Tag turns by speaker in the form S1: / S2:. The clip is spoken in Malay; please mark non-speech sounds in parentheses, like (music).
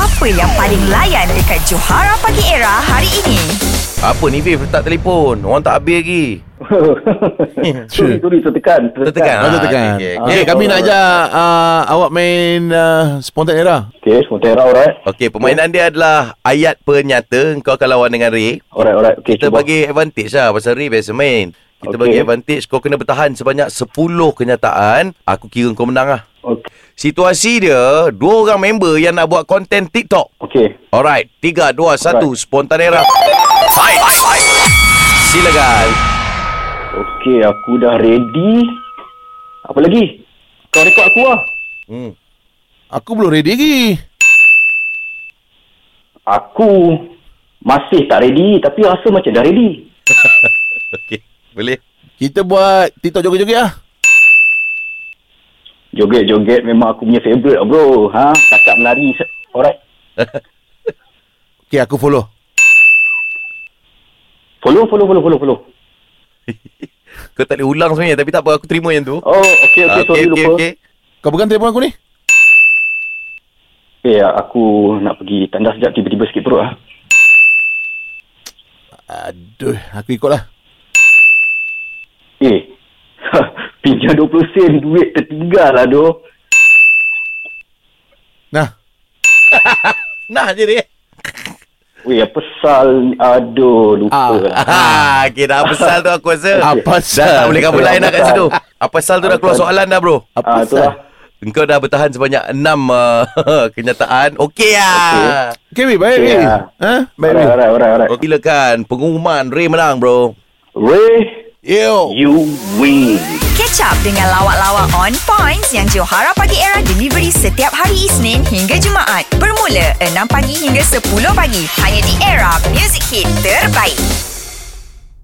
S1: Apa yang paling layan dekat Johara Pagi Era hari ini?
S2: Apa ni Viv letak telefon Orang tak habis lagi
S3: (laughs) Sorry, sorry, tertekan.
S2: Tertekan
S4: Ah, tekan.
S2: okey,
S4: Okay,
S2: okey.
S4: kami nak ajak uh, awak main uh, spontan era.
S3: Okay, Montera, alright.
S2: Okey permainan dia adalah Ayat penyata Kau akan lawan dengan Ray
S3: Alright, alright. Okay,
S2: Kita
S3: cuba.
S2: bagi advantage lah Pasal Ray biasa main Kita
S3: Okey.
S2: bagi advantage Kau kena bertahan sebanyak 10 kenyataan Aku kira kau menang lah
S3: Okay.
S2: Situasi dia Dua orang member yang nak buat konten TikTok
S3: okay.
S2: Alright 3, 2, 1 Spontanera Fight Silakan
S3: Okay, aku dah ready. Apa lagi? Kau rekod aku lah.
S2: hmm.
S4: Aku belum ready lagi.
S3: Aku masih tak ready tapi rasa macam dah ready.
S2: Okey Boleh
S4: Kita buat TikTok joget-joget lah.
S3: Joget-joget memang aku punya favourite lah bro. Ha? Cakap menari. Alright.
S4: Okay, aku follow.
S3: Follow, follow, follow, follow, follow.
S2: Kau tak boleh ulang sebenarnya Tapi tak apa Aku terima yang tu
S3: Oh, okay, okay.
S2: Ah,
S3: okay sorry, okay, lupa. Okay.
S4: Kau pegang telefon aku ni.
S3: Eh, aku nak pergi tandas sekejap tiba-tiba sikit perut lah.
S4: Aduh, aku ikut lah.
S3: Eh, (laughs) pinjam 20 sen duit tertinggal lah doh.
S4: Nah,
S2: Nah je dia
S3: Weh, apa sal? Aduh, lupa
S4: Ah,
S3: lah.
S4: (laughs)
S2: Ha, okay, dah apa sal tu aku rasa Dah
S4: Apa sal?
S2: tak boleh cover lain dah kat
S3: Apa
S2: situ
S3: sal?
S2: Apa sal tu dah keluar
S3: Apa sal?
S2: soalan dah bro
S3: Ah,
S4: apa ah,
S3: itulah.
S2: Engkau dah bertahan sebanyak 6 uh, (laughs) kenyataan Okey lah
S4: Okay, weh, baik,
S3: Okay,
S4: weh.
S3: ah.
S4: Ha? Baik, weh.
S3: Alright, alright, alright, alright.
S2: okay. Silakan Pengumuman Ray menang bro
S3: Ray,
S4: Yo.
S3: you win.
S1: Catch up dengan lawak-lawak on points yang Johara Pagi Era delivery setiap hari Isnin hingga Jumaat. Bermula 6 pagi hingga 10 pagi. Hanya di Era Music Hit Terbaik.